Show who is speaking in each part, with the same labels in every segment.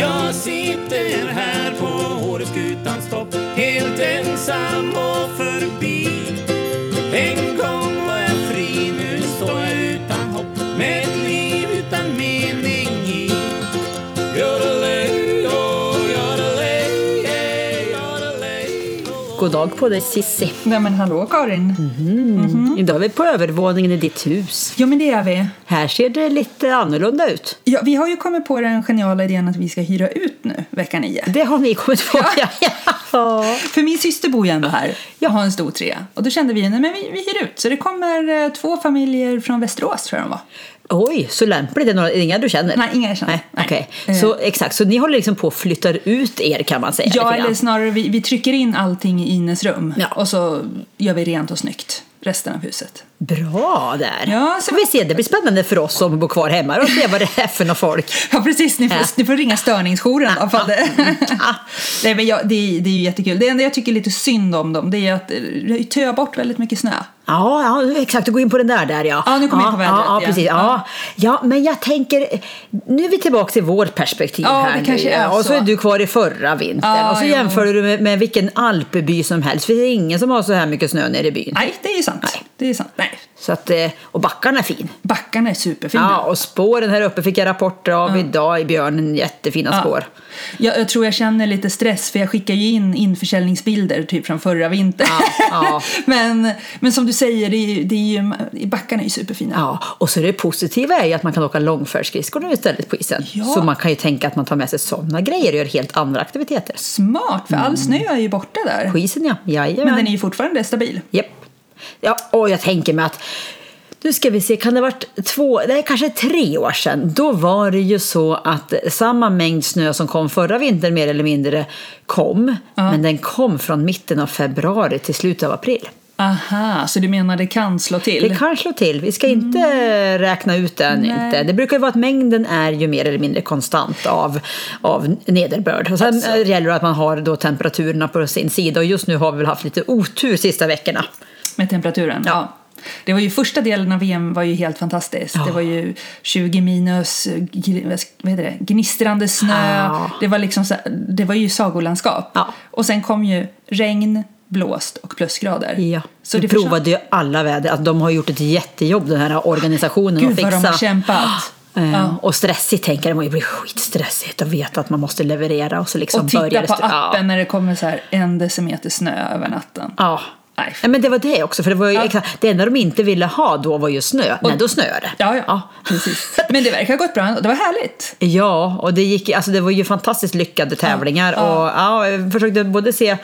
Speaker 1: Jag sitter här på Åreskutans topp Helt ensam och förbi En gång var jag fri, nu står jag utan hopp Med ett liv utan mening i Yodelay, oh, yodelay, yeah, yodelay, oh.
Speaker 2: God dag på dig Sissi.
Speaker 3: Nej men hallå Karin. Mhm.
Speaker 2: Idag är vi på övervåningen i ditt hus.
Speaker 3: Jo men det är vi.
Speaker 2: Här ser det lite annorlunda ut.
Speaker 3: Ja, vi har ju kommit på den geniala idén att vi ska hyra ut nu vecka nio.
Speaker 2: Det har ni kommit på. Ja. Ja.
Speaker 3: För min syster bor ju ändå här. Jag har en stor trea. Och då kände vi, nej men vi, vi hyr ut. Så det kommer eh, två familjer från Västerås tror jag de var.
Speaker 2: Oj, så lämpligt. Det är några, inga du känner?
Speaker 3: Nej, inga jag känner.
Speaker 2: Nej,
Speaker 3: Nej. Eh.
Speaker 2: okej. Så, exakt, så ni håller liksom på att flytta ut er kan man säga.
Speaker 3: Ja
Speaker 2: lite grann.
Speaker 3: eller snarare vi, vi trycker in allting i Ines rum.
Speaker 2: Ja.
Speaker 3: Och så gör vi rent och snyggt resten av huset.
Speaker 2: Bra där.
Speaker 3: Ja, så-
Speaker 2: Får vi se, det blir spännande för oss som bor kvar hemma och se vad det är för någon folk.
Speaker 3: Ja precis, ni får,
Speaker 2: Ja.
Speaker 3: ni får ringa störningsjouren då. För det. Nej, men jag, det, är- det är ju jättekul. Det enda jag tycker är lite synd om dem det är att eh, det töar bort väldigt mycket snö.
Speaker 2: Ja, ja exakt. Du går in på den där. där ja.
Speaker 3: Ja, nu kommer jag in på vädret
Speaker 2: ja, ja,
Speaker 3: igen.
Speaker 2: precis. Ja. ja, men jag tänker... Nu är vi tillbaka till vårt perspektiv
Speaker 3: Ja,
Speaker 2: här
Speaker 3: det
Speaker 2: nu.
Speaker 3: kanske är
Speaker 2: ja. Och så
Speaker 3: så.
Speaker 2: är du kvar i förra vintern.
Speaker 3: Ja,
Speaker 2: och så
Speaker 3: jo.
Speaker 2: jämför du med, med vilken alpeby som helst. För det är ingen som har så här mycket snö nere i byn.
Speaker 3: Nej, det är ju sant.
Speaker 2: Nej.
Speaker 3: Det är sant. Nej.
Speaker 2: Så att, eh, och backarna är fin.
Speaker 3: Backarna är superfina.
Speaker 2: Ja, och spåren här uppe fick jag rapporter av idag i björnen. Jättefina
Speaker 3: Ja.
Speaker 2: spår.
Speaker 3: Jag, jag tror jag känner lite stress för jag skickar ju in införsäljningsbilder typ från förra vintern.
Speaker 2: Ja, ja.
Speaker 3: men, men som du säger, det är, ju- det är ju, backarna är ju superfina.
Speaker 2: Ja, och så det positiva är ju att man kan åka långfärdsskridskor nu istället på isen.
Speaker 3: Ja.
Speaker 2: Så man kan ju tänka att man tar med sig sådana grejer och gör helt andra aktiviteter.
Speaker 3: Smart, för all snö är ju borta där.
Speaker 2: På isen ja, jajamän.
Speaker 3: Men den är ju fortfarande stabil.
Speaker 2: Japp. Ja, och jag tänker mig att nu ska vi se, kan det ha varit två, nej kanske tre år sedan, då var det ju så att samma mängd snö som kom förra vintern mer eller mindre kom, men den kom från mitten av februari till slutet av april.
Speaker 3: Aha, så du menar det kan slå till?
Speaker 2: Det kan slå till, vi ska inte räkna ut den.
Speaker 3: Nej.
Speaker 2: Inte. Det brukar ju vara att mängden är ju mer eller mindre konstant av, av nederbörd. Och sen eh, gäller det att man har då temperaturerna på sin sida och just nu har vi väl haft lite otur sista veckorna.
Speaker 3: Med temperaturen? Ja. Det var ju första delen av VM var ju helt fantastisk. Det var ju 20 minus, gl- vad sk- vad heter det, gnistrande snö.
Speaker 2: Ja.
Speaker 3: Det, var liksom så, det var ju sagolandskap.
Speaker 2: Ja.
Speaker 3: Och sen kom ju regn, blåst och plusgrader.
Speaker 2: Ja,
Speaker 3: Så
Speaker 2: vi
Speaker 3: det försvann.
Speaker 2: provade ju alla väder. Att de har gjort ett jättejobb den här organisationen.
Speaker 3: Gud
Speaker 2: att
Speaker 3: vad
Speaker 2: fixa.
Speaker 3: de har kämpat.
Speaker 2: Eh,
Speaker 3: Ja.
Speaker 2: Och stressigt tänker man ju, det blir skitstressigt att veta att man måste leverera och så liksom
Speaker 3: Och titta
Speaker 2: börjar det
Speaker 3: på
Speaker 2: str- ja.
Speaker 3: appen när det kommer så här en decimeter snö över natten.
Speaker 2: Ja.
Speaker 3: Nej.
Speaker 2: Nej, men det var det också, för det, var ju
Speaker 3: Ja.
Speaker 2: exakt, det enda de inte ville ha då var ju snö. Nej, då snöade det.
Speaker 3: Ja, ja. Precis. Men det verkar ha gått bra ändå. Det var härligt.
Speaker 2: Ja, och det, gick, alltså det var ju fantastiskt lyckade tävlingar.
Speaker 3: Ja.
Speaker 2: Och, ja, jag försökte både se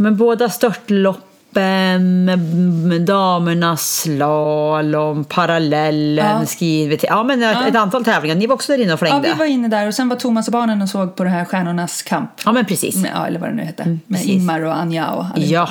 Speaker 2: men båda störtloppen, m- damernas slalom, parallellen,
Speaker 3: Ja.
Speaker 2: skrivet. Ja, men ett, ett antal tävlingar. Ni var också där inne och
Speaker 3: Ja,
Speaker 2: flängde.
Speaker 3: vi
Speaker 2: Ja,
Speaker 3: var inne där och sen var Thomas och barnen och såg på det här Stjärnornas kamp.
Speaker 2: men precis.
Speaker 3: med, ja, eller vad det nu hette, med
Speaker 2: Mm, precis.
Speaker 3: Inmar och Anja och allihop.
Speaker 2: Ja,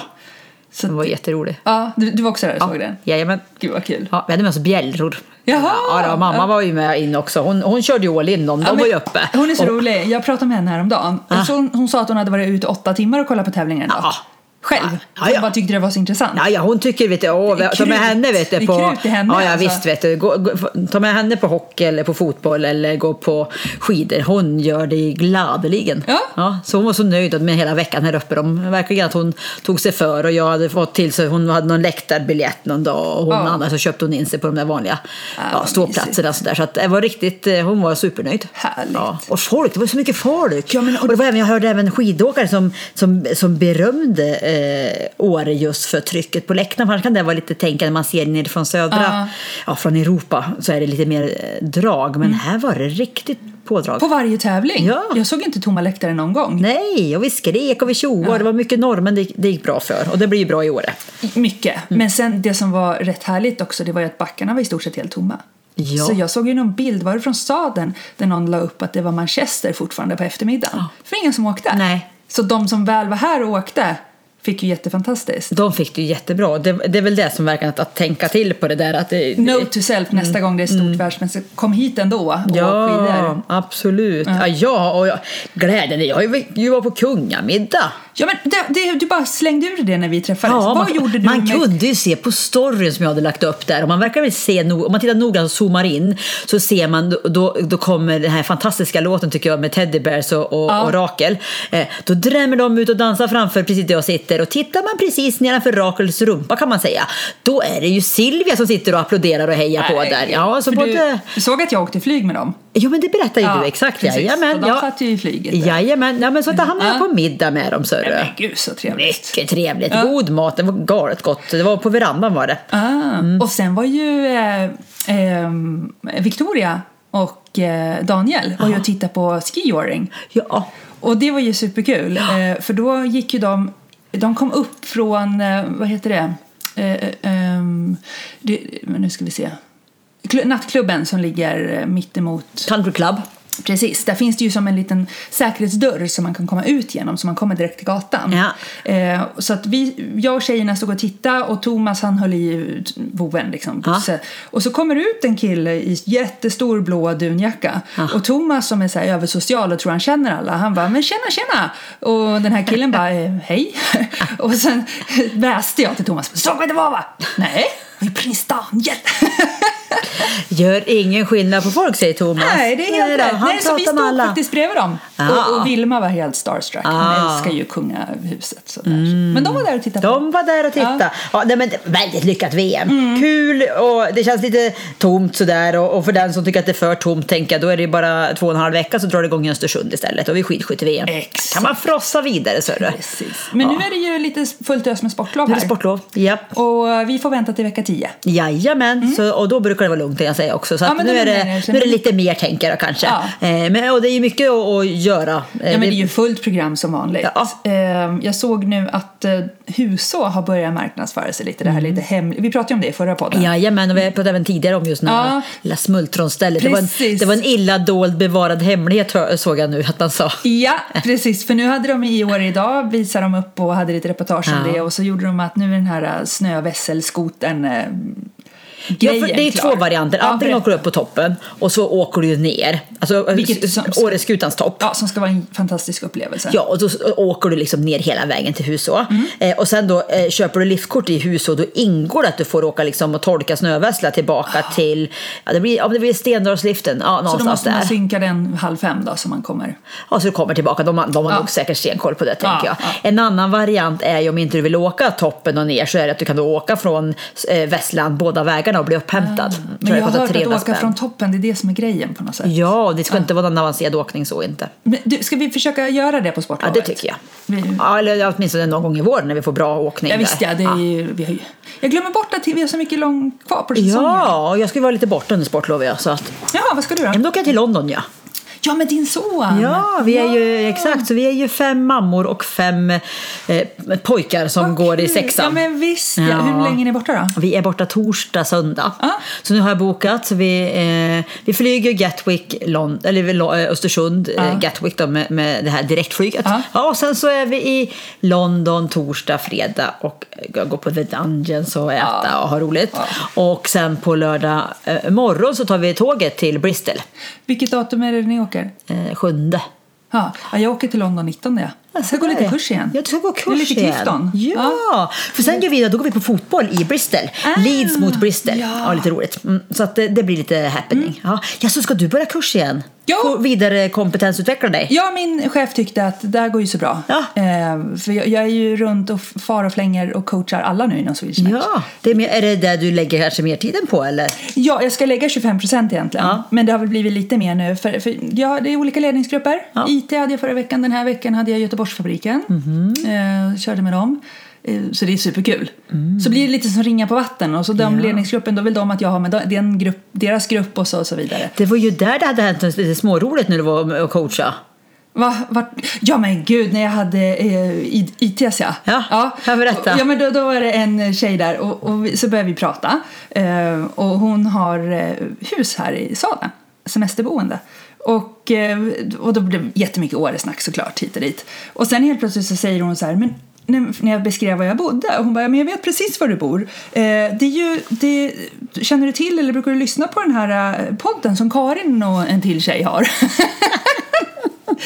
Speaker 3: Så
Speaker 2: det
Speaker 3: att-
Speaker 2: var jätteroligt.
Speaker 3: ja, du, du var också där och såg den?
Speaker 2: Jajamän.
Speaker 3: Gud vad kul.
Speaker 2: Ja, vi hade med oss bjällror.
Speaker 3: Jaha!
Speaker 2: Ja, då, mamma
Speaker 3: Ja.
Speaker 2: var ju med in också. Hon, hon körde ju all in dem. De
Speaker 3: Ja, men-
Speaker 2: var ju uppe.
Speaker 3: Hon är så
Speaker 2: Och-
Speaker 3: rolig. Jag pratade med henne häromdagen. Ah. Så hon, hon sa att hon hade varit ute åtta timmar och kollat på tävlingen. Då.
Speaker 2: Ja.
Speaker 3: Själv.
Speaker 2: Ja, Ah. ja,
Speaker 3: Hon
Speaker 2: ja.
Speaker 3: bara tyckte det var så intressant.
Speaker 2: Ja, ja, hon tycker vet du, åh,
Speaker 3: Det är
Speaker 2: ta med
Speaker 3: krut.
Speaker 2: henne vet
Speaker 3: Det
Speaker 2: du
Speaker 3: är
Speaker 2: på...
Speaker 3: krut i henne,
Speaker 2: ja, ja,
Speaker 3: alltså.
Speaker 2: visst vet du. Gå, gå, ta med henne på hockey eller på fotboll eller gå på skidor. Hon gör det gladeligen.
Speaker 3: Ja.
Speaker 2: så hon var så nöjd med hela veckan här uppe. De, verkligen att hon tog sig för och jag hade fått till sig, hon hade någon läktarbiljett någon dag och hon
Speaker 3: Ja.
Speaker 2: annars så köpte hon in sig på de där vanliga ja,
Speaker 3: vad
Speaker 2: ståplatserna. Så, där. så att det var riktigt, eh, hon var supernöjd.
Speaker 3: Härligt.
Speaker 2: Ja. Och folk, det var så mycket folk.
Speaker 3: Ja, men-
Speaker 2: och det var även, jag hörde även skidåkare som, som, som berömde eh, Åre just för trycket på läktaren. För Annars kan det vara lite tänkande, man ser ner från södra,
Speaker 3: Ja.
Speaker 2: ja, från Europa, så är det lite mer eh, drag. Men här var det riktigt pådrag.
Speaker 3: Mm. På varje tävling.
Speaker 2: Ja.
Speaker 3: Jag såg inte tomma läktare någon gång.
Speaker 2: Nej, och vi skrek och vi tjoade. Det var mycket norrmän det, gick- det gick bra för. Och det blir ju bra i Åre.
Speaker 3: Mycket.
Speaker 2: Mm.
Speaker 3: Men sen det som var rätt härligt också det var ju att backarna var i stort sett helt tomma.
Speaker 2: Ja.
Speaker 3: Så jag såg ju någon bild, var det från staden, där någon la upp att det var Manchester fortfarande på eftermiddagen. För ingen som åkte.
Speaker 2: Nej.
Speaker 3: Så de som väl var här och åkte fick ju jättefantastiskt.
Speaker 2: De fick det ju jättebra. Det, det är väl det som verkar att, att tänka till på det där. Att det,
Speaker 3: Note to self
Speaker 2: Mm.
Speaker 3: nästa gång det är stort världsmästerskap. Kom hit ändå och åk skidor.
Speaker 2: absolut. Ja. Ja, och jag, glädjen, jag ju- ju var på kungamiddag.
Speaker 3: Ja, men det, det, du bara slängde ur det när vi träffades.
Speaker 2: Ja,
Speaker 3: Vad
Speaker 2: man,
Speaker 3: gjorde du
Speaker 2: man
Speaker 3: med...
Speaker 2: kunde ju se på storyn som jag hade lagt upp där. Om man, verkar väl se, no- om man tittar noggrant och zoomar in så ser man, då- då, då kommer den här fantastiska låten tycker jag med Teddy Bears och, och,
Speaker 3: Ja.
Speaker 2: och Rakel. Eh, då drämmer de ut och dansar framför precis där jag sitter. Och tittar man precis nedanför Rakels rumpa kan man säga, då är det ju Silvia som sitter och applåderar och hejar på
Speaker 3: Nej,
Speaker 2: där. Ja, så
Speaker 3: för
Speaker 2: både...
Speaker 3: du, du såg att jag åkte flyg med dem?
Speaker 2: Jo, men det berättar ju du exakt.
Speaker 3: precis.
Speaker 2: Jajamän,
Speaker 3: Och de
Speaker 2: ja.
Speaker 3: satt ju i flyget. där.
Speaker 2: Jajamän, ja, men så att han var jag
Speaker 3: Ja.
Speaker 2: på middag med dem, sörru.
Speaker 3: Men gud så trevligt.
Speaker 2: Mycket trevligt. God mat. Det var galet gott. Det var på verandan var det.
Speaker 3: Ah. Och sen var ju eh, eh, Victoria och eh, Daniel var ju och tittade på skioring.
Speaker 2: Ja.
Speaker 3: Och det var ju superkul. Eh, för då gick ju de, de kom upp från, eh, vad heter det? Eh, eh, ehm, det men nu ska vi se. Klu- Nattklubben som ligger eh, mittemot
Speaker 2: Country Club.
Speaker 3: Precis, där finns det ju som en liten säkerhetsdörr som man kan komma ut genom så man kommer direkt till gatan.
Speaker 2: Ja.
Speaker 3: Eh, så att vi, jag och tjejerna stod och tittade och Thomas han höll i ut- boven liksom.
Speaker 2: Ja.
Speaker 3: Så, och så kommer det ut en kille i jättestor blå dunjacka och Thomas som är så här översocial och tror han känner alla han bara men tjena tjena och den här killen bara eh, hej och sen väste jag till Thomas såg vad det var va? Nej, det var ju prins Daniel.
Speaker 2: Gör ingen skillnad på folk, säger Thomas.
Speaker 3: Nej, det är helt
Speaker 2: då,
Speaker 3: rätt.
Speaker 2: Han
Speaker 3: Nej, så vi
Speaker 2: pratar med
Speaker 3: stod
Speaker 2: alla. Ah.
Speaker 3: faktiskt bredvid dem.
Speaker 2: Ja.
Speaker 3: Och, och Vilma var helt starstruck. Hon
Speaker 2: Ja.
Speaker 3: älskar ju kungahuset. Sådär. Men de var där och tittade på.
Speaker 2: Ah. De var där och tittade. Ja. nej, men det- väldigt lyckat VM.
Speaker 3: Mm.
Speaker 2: Kul och det känns lite tomt sådär. Och, och för den som tycker att det är för tomt, tänker jag, då är det ju bara två och en halv vecka så drar det igång i Östersund istället. Och vi är skidskytte-VM.
Speaker 3: Exakt.
Speaker 2: Kan man frossa vidare, sörru.
Speaker 3: Precis. Men nu är det ju lite fullt ös med sportlov
Speaker 2: Nu är
Speaker 3: här.
Speaker 2: det sportlov. Japp.
Speaker 3: Och eh, vi får vänta till vecka 10.
Speaker 2: Jajamän, så, och då brukar det vara lugnt kan jag säga också. Så
Speaker 3: Mm. Ja,
Speaker 2: att
Speaker 3: men
Speaker 2: nu,
Speaker 3: det
Speaker 2: är
Speaker 3: lugnar
Speaker 2: det,
Speaker 3: ner sig.
Speaker 2: nu är det lite mer tänker jag kanske.
Speaker 3: Ja.
Speaker 2: Eh, men, och det är ju mycket att, att göra. Eh,
Speaker 3: Ja, men det
Speaker 2: det-
Speaker 3: är ju fullt program som vanligt.
Speaker 2: Ja.
Speaker 3: Ehm, Jag såg nu att eh, Huså har börjat marknadsföra sig lite. Det
Speaker 2: Mm.
Speaker 3: här lite hemligt. Vi pratade ju om det i förra podden.
Speaker 2: Jajamän, och vi har pratat även tidigare om just den här
Speaker 3: Ja.
Speaker 2: lilla smultronstället. Det var, en,
Speaker 3: Precis.
Speaker 2: det var en illa dold bevarad hemlighet hör- såg jag nu att man sa.
Speaker 3: Ja, precis. För nu hade de i år idag visade de upp och hade lite reportage om
Speaker 2: Ja.
Speaker 3: det och så gjorde de att nu är den här eh, snövesselskotern eh, grejen
Speaker 2: ja, för det är
Speaker 3: klar.
Speaker 2: två varianter.
Speaker 3: Ja,
Speaker 2: Antingen
Speaker 3: berätta.
Speaker 2: åker du upp på toppen och så åker du ju ner. Alltså
Speaker 3: Vilket
Speaker 2: s-
Speaker 3: som-
Speaker 2: Åreskutans topp.
Speaker 3: Ja, som ska vara en fantastisk upplevelse.
Speaker 2: Ja, och då s- åker du liksom ner hela vägen till Huså.
Speaker 3: Mm.
Speaker 2: Eh, och sen då eh, köper du liftkort i Huså, då ingår det att du får åka liksom och torka snövessla tillbaka till, ja det blir, ja, det blir Stendalsliften, ja
Speaker 3: Ah. så då
Speaker 2: någonstans
Speaker 3: måste man
Speaker 2: där.
Speaker 3: synka den halv fem då så man kommer.
Speaker 2: Ja, så du kommer tillbaka, de, har- de har
Speaker 3: Ja.
Speaker 2: nog säkert stenkoll på det tänker
Speaker 3: Ja,
Speaker 2: jag. En annan variant är ju om inte du vill åka toppen och ner så är det att du kan då åka från eh, Västland båda vägarna och bli upphämtad.
Speaker 3: Ah, Men jag, har
Speaker 2: kostar
Speaker 3: hört att
Speaker 2: 300
Speaker 3: åka
Speaker 2: spänn.
Speaker 3: från Ah. toppen, det är det som är grejen på något sätt.
Speaker 2: Ja, det ska inte vara någon avancerad åkning så inte.
Speaker 3: Men du, ska vi försöka göra det på
Speaker 2: Ja,
Speaker 3: sportlovet?
Speaker 2: det tycker jag.
Speaker 3: Vi-
Speaker 2: Ja, eller åtminstone någon gång i vår när vi får bra åkning.
Speaker 3: Ja,
Speaker 2: där.
Speaker 3: visst ja, det är ju, vi har ju, Jag glömmer bort att vi har så mycket långt kvar på säsongen.
Speaker 2: Ja, och jag ska ju vara lite borta under sportlovet. ja, Så att,
Speaker 3: Jaha, vad ska du då?
Speaker 2: men då åker jag till London ja. Mm.
Speaker 3: Ja, med din son!
Speaker 2: Ja, vi är ju, exakt. Så vi är ju fem mammor och fem eh, pojkar som
Speaker 3: Vad
Speaker 2: går i
Speaker 3: kul.
Speaker 2: sexan.
Speaker 3: Ja, men visst. Ja.
Speaker 2: Ja.
Speaker 3: Hur länge är ni borta då?
Speaker 2: Vi är borta torsdag, söndag.
Speaker 3: Ja.
Speaker 2: Så nu har jag bokat. Så vi, eh, vi flyger Gatwick, Lond- eller Lo- eh, Östersund, eh, Gatwick då, med, med det här direktflyget.
Speaker 3: Ja.
Speaker 2: Ja, och sen så är vi i London torsdag, fredag och går på The Dungeons och äta
Speaker 3: Ja.
Speaker 2: och ha roligt. Och sen på lördag eh, morgon så tar vi tåget till Bristol,
Speaker 3: Vilket datum är det ni åker?
Speaker 2: eh, sjunde.
Speaker 3: Ja, ja, jag åker till London 19. Ja. Jag ska gå lite kurs igen.
Speaker 2: Ja, du ska gå
Speaker 3: Det är
Speaker 2: kurs
Speaker 3: lite
Speaker 2: igen.
Speaker 3: Clifton.
Speaker 2: Ja. för sen går vi, då går vi på fotboll i Bristol.
Speaker 3: Ah.
Speaker 2: Leeds mot Bristol. Ja.
Speaker 3: Ja. Mm.
Speaker 2: lite roligt. Mm, så att det, det blir lite happening. Ja. ja, så ska du börja kurs igen?
Speaker 3: Ja.
Speaker 2: Få vidare kompetensutveckla dig?
Speaker 3: Ja, min chef tyckte att det här går ju så bra.
Speaker 2: Ja.
Speaker 3: Eh, för jag, jag är ju runt och f- far och flänger och coachar alla nu inom Swedish Match.
Speaker 2: Ja, det är, mer, är det där du lägger kanske mer tiden på eller?
Speaker 3: Ja, jag ska lägga 25 procent egentligen.
Speaker 2: Ja.
Speaker 3: Men det har väl blivit lite mer nu. För, för, ja, det är olika ledningsgrupper.
Speaker 2: Ja. Mhm.
Speaker 3: IT hade jag förra veckan. Den här veckan hade jag Göteborgsfabriken. Eh, körde med dem. Eh, Så det är superkul.
Speaker 2: Mm.
Speaker 3: Så blir det lite som ringa på vatten. Och så de ledningsgruppen, då vill de att jag har med de- den grupp, deras grupp och så, och så vidare.
Speaker 2: Det var ju där det hade hänt något lite småroligt när du var och coacha.
Speaker 3: Va, vart, ja men gud, när jag hade eh, I- ITS ja.
Speaker 2: Ja, kan berätta.
Speaker 3: Ja men då, då var det en tjej där och, och vi, så började vi prata. Eh, och hon har eh, hus här i Sala, semesterboende. Och, eh, och då blev det jättemycket Åresnack såklart hit och dit. Och sen helt plötsligt så säger hon så här, men när när jag beskrev var jag bodde och hon bara, men jag vet precis var du bor. Eh, det är ju, det, känner du till eller brukar du lyssna på den här eh, podden som Karin och en till tjej har?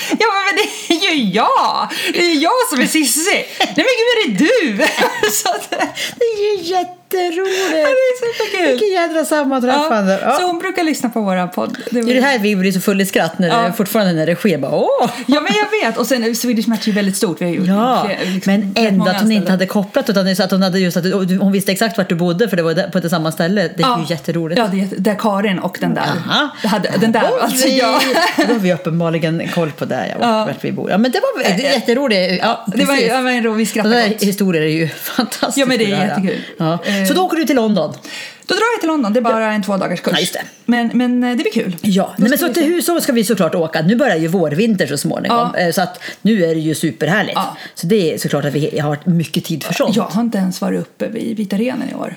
Speaker 3: Ja men det är ju ju jag! Det är jag som är Sissi! Nej men gud, är det du? Så att,
Speaker 2: Det är ju jätteroligt!
Speaker 3: det är superkul!
Speaker 2: Vilket jädra sammanträffande! Ja.
Speaker 3: Så hon brukar lyssna på våra podd. Det var-
Speaker 2: Det är det här vi blir så full i skratt när
Speaker 3: Ja.
Speaker 2: det, fortfarande när det sker. Bara, åh.
Speaker 3: Ja men jag vet, och sen eh, Swedish Match är ju väldigt stort. Vi har ju
Speaker 2: Ja,
Speaker 3: fler- liksom,
Speaker 2: men
Speaker 3: rätt
Speaker 2: ändå
Speaker 3: många
Speaker 2: att hon inte
Speaker 3: ställen.
Speaker 2: hade kopplat utan det är så att hon, hade just att hon visste exakt vart du bodde för det var där- på det samma ställe. Det är ju jätteroligt.
Speaker 3: Ja, det är jätte- där Karin och den där.
Speaker 2: Jaha.
Speaker 3: Hade, den där, alltså
Speaker 2: vi,
Speaker 3: jag.
Speaker 2: Då har vi uppenbarligen koll på där, ja,
Speaker 3: Ja. Eh,
Speaker 2: vart vi bor. Ja, men det var det är jätteroligt. Ja,
Speaker 3: Det var,
Speaker 2: precis.
Speaker 3: ja, men då, vi
Speaker 2: Sådana
Speaker 3: skrattade
Speaker 2: där
Speaker 3: gott.
Speaker 2: historier är ju fantastiska.
Speaker 3: Ja, men det är
Speaker 2: att höra.
Speaker 3: jättekul. Eh.
Speaker 2: Ja. Så då åker du till London?
Speaker 3: Då drar vi till London, det är bara en två dagars kurs.
Speaker 2: Ja, just det.
Speaker 3: Men, men eh, det blir kul.
Speaker 2: Ja,
Speaker 3: Då
Speaker 2: Nej, men så
Speaker 3: ska vi
Speaker 2: till
Speaker 3: se.
Speaker 2: Husum ska vi såklart åka. Nu börjar ju vårvinter så småningom.
Speaker 3: Ja.
Speaker 2: Eh, Så att nu är det ju superhärligt.
Speaker 3: Ja.
Speaker 2: Så det är såklart att vi har mycket tid för sånt.
Speaker 3: Jag har inte ens varit uppe vid Vita renen i år.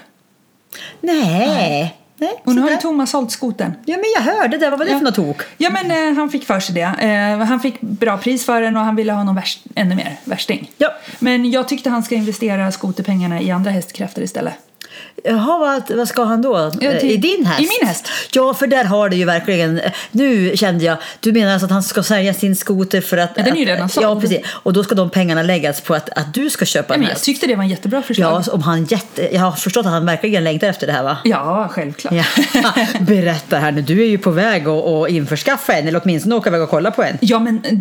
Speaker 2: Nej. Nej.
Speaker 3: Och nu har
Speaker 2: sådär.
Speaker 3: ju Thomas sålt skotern.
Speaker 2: Ja, men jag hörde det. Vad var det
Speaker 3: Ja.
Speaker 2: för något tok?
Speaker 3: Ja, men eh, han fick för sig det. Eh, han fick bra pris för den och han ville ha någon värst, ännu mer värsting.
Speaker 2: Ja.
Speaker 3: Men jag tyckte han ska investera skoterpengarna i andra hästkrafter istället.
Speaker 2: Jaha, vad, vad ska han då? Eh,
Speaker 3: Ja, till-
Speaker 2: I din häst?
Speaker 3: i min häst.
Speaker 2: Ja, för där har det ju verkligen... Nu kände jag... Du menar alltså att han ska sälja sin skoter för att...
Speaker 3: Ja, den är ju
Speaker 2: att-
Speaker 3: redan såld.
Speaker 2: Ja, precis. Och då ska de pengarna läggas på att, att du ska köpa
Speaker 3: Ja,
Speaker 2: en
Speaker 3: men jag
Speaker 2: häst.
Speaker 3: tyckte det var en jättebra förslag.
Speaker 2: Ja, om han jätte... Jag har förstått att han verkligen längtar efter det här, va?
Speaker 3: Ja, självklart.
Speaker 2: Ja. Berätta här nu, du är ju på väg att, att införskaffa en eller åtminstone åka iväg och kolla på en.
Speaker 3: Ja, men eh,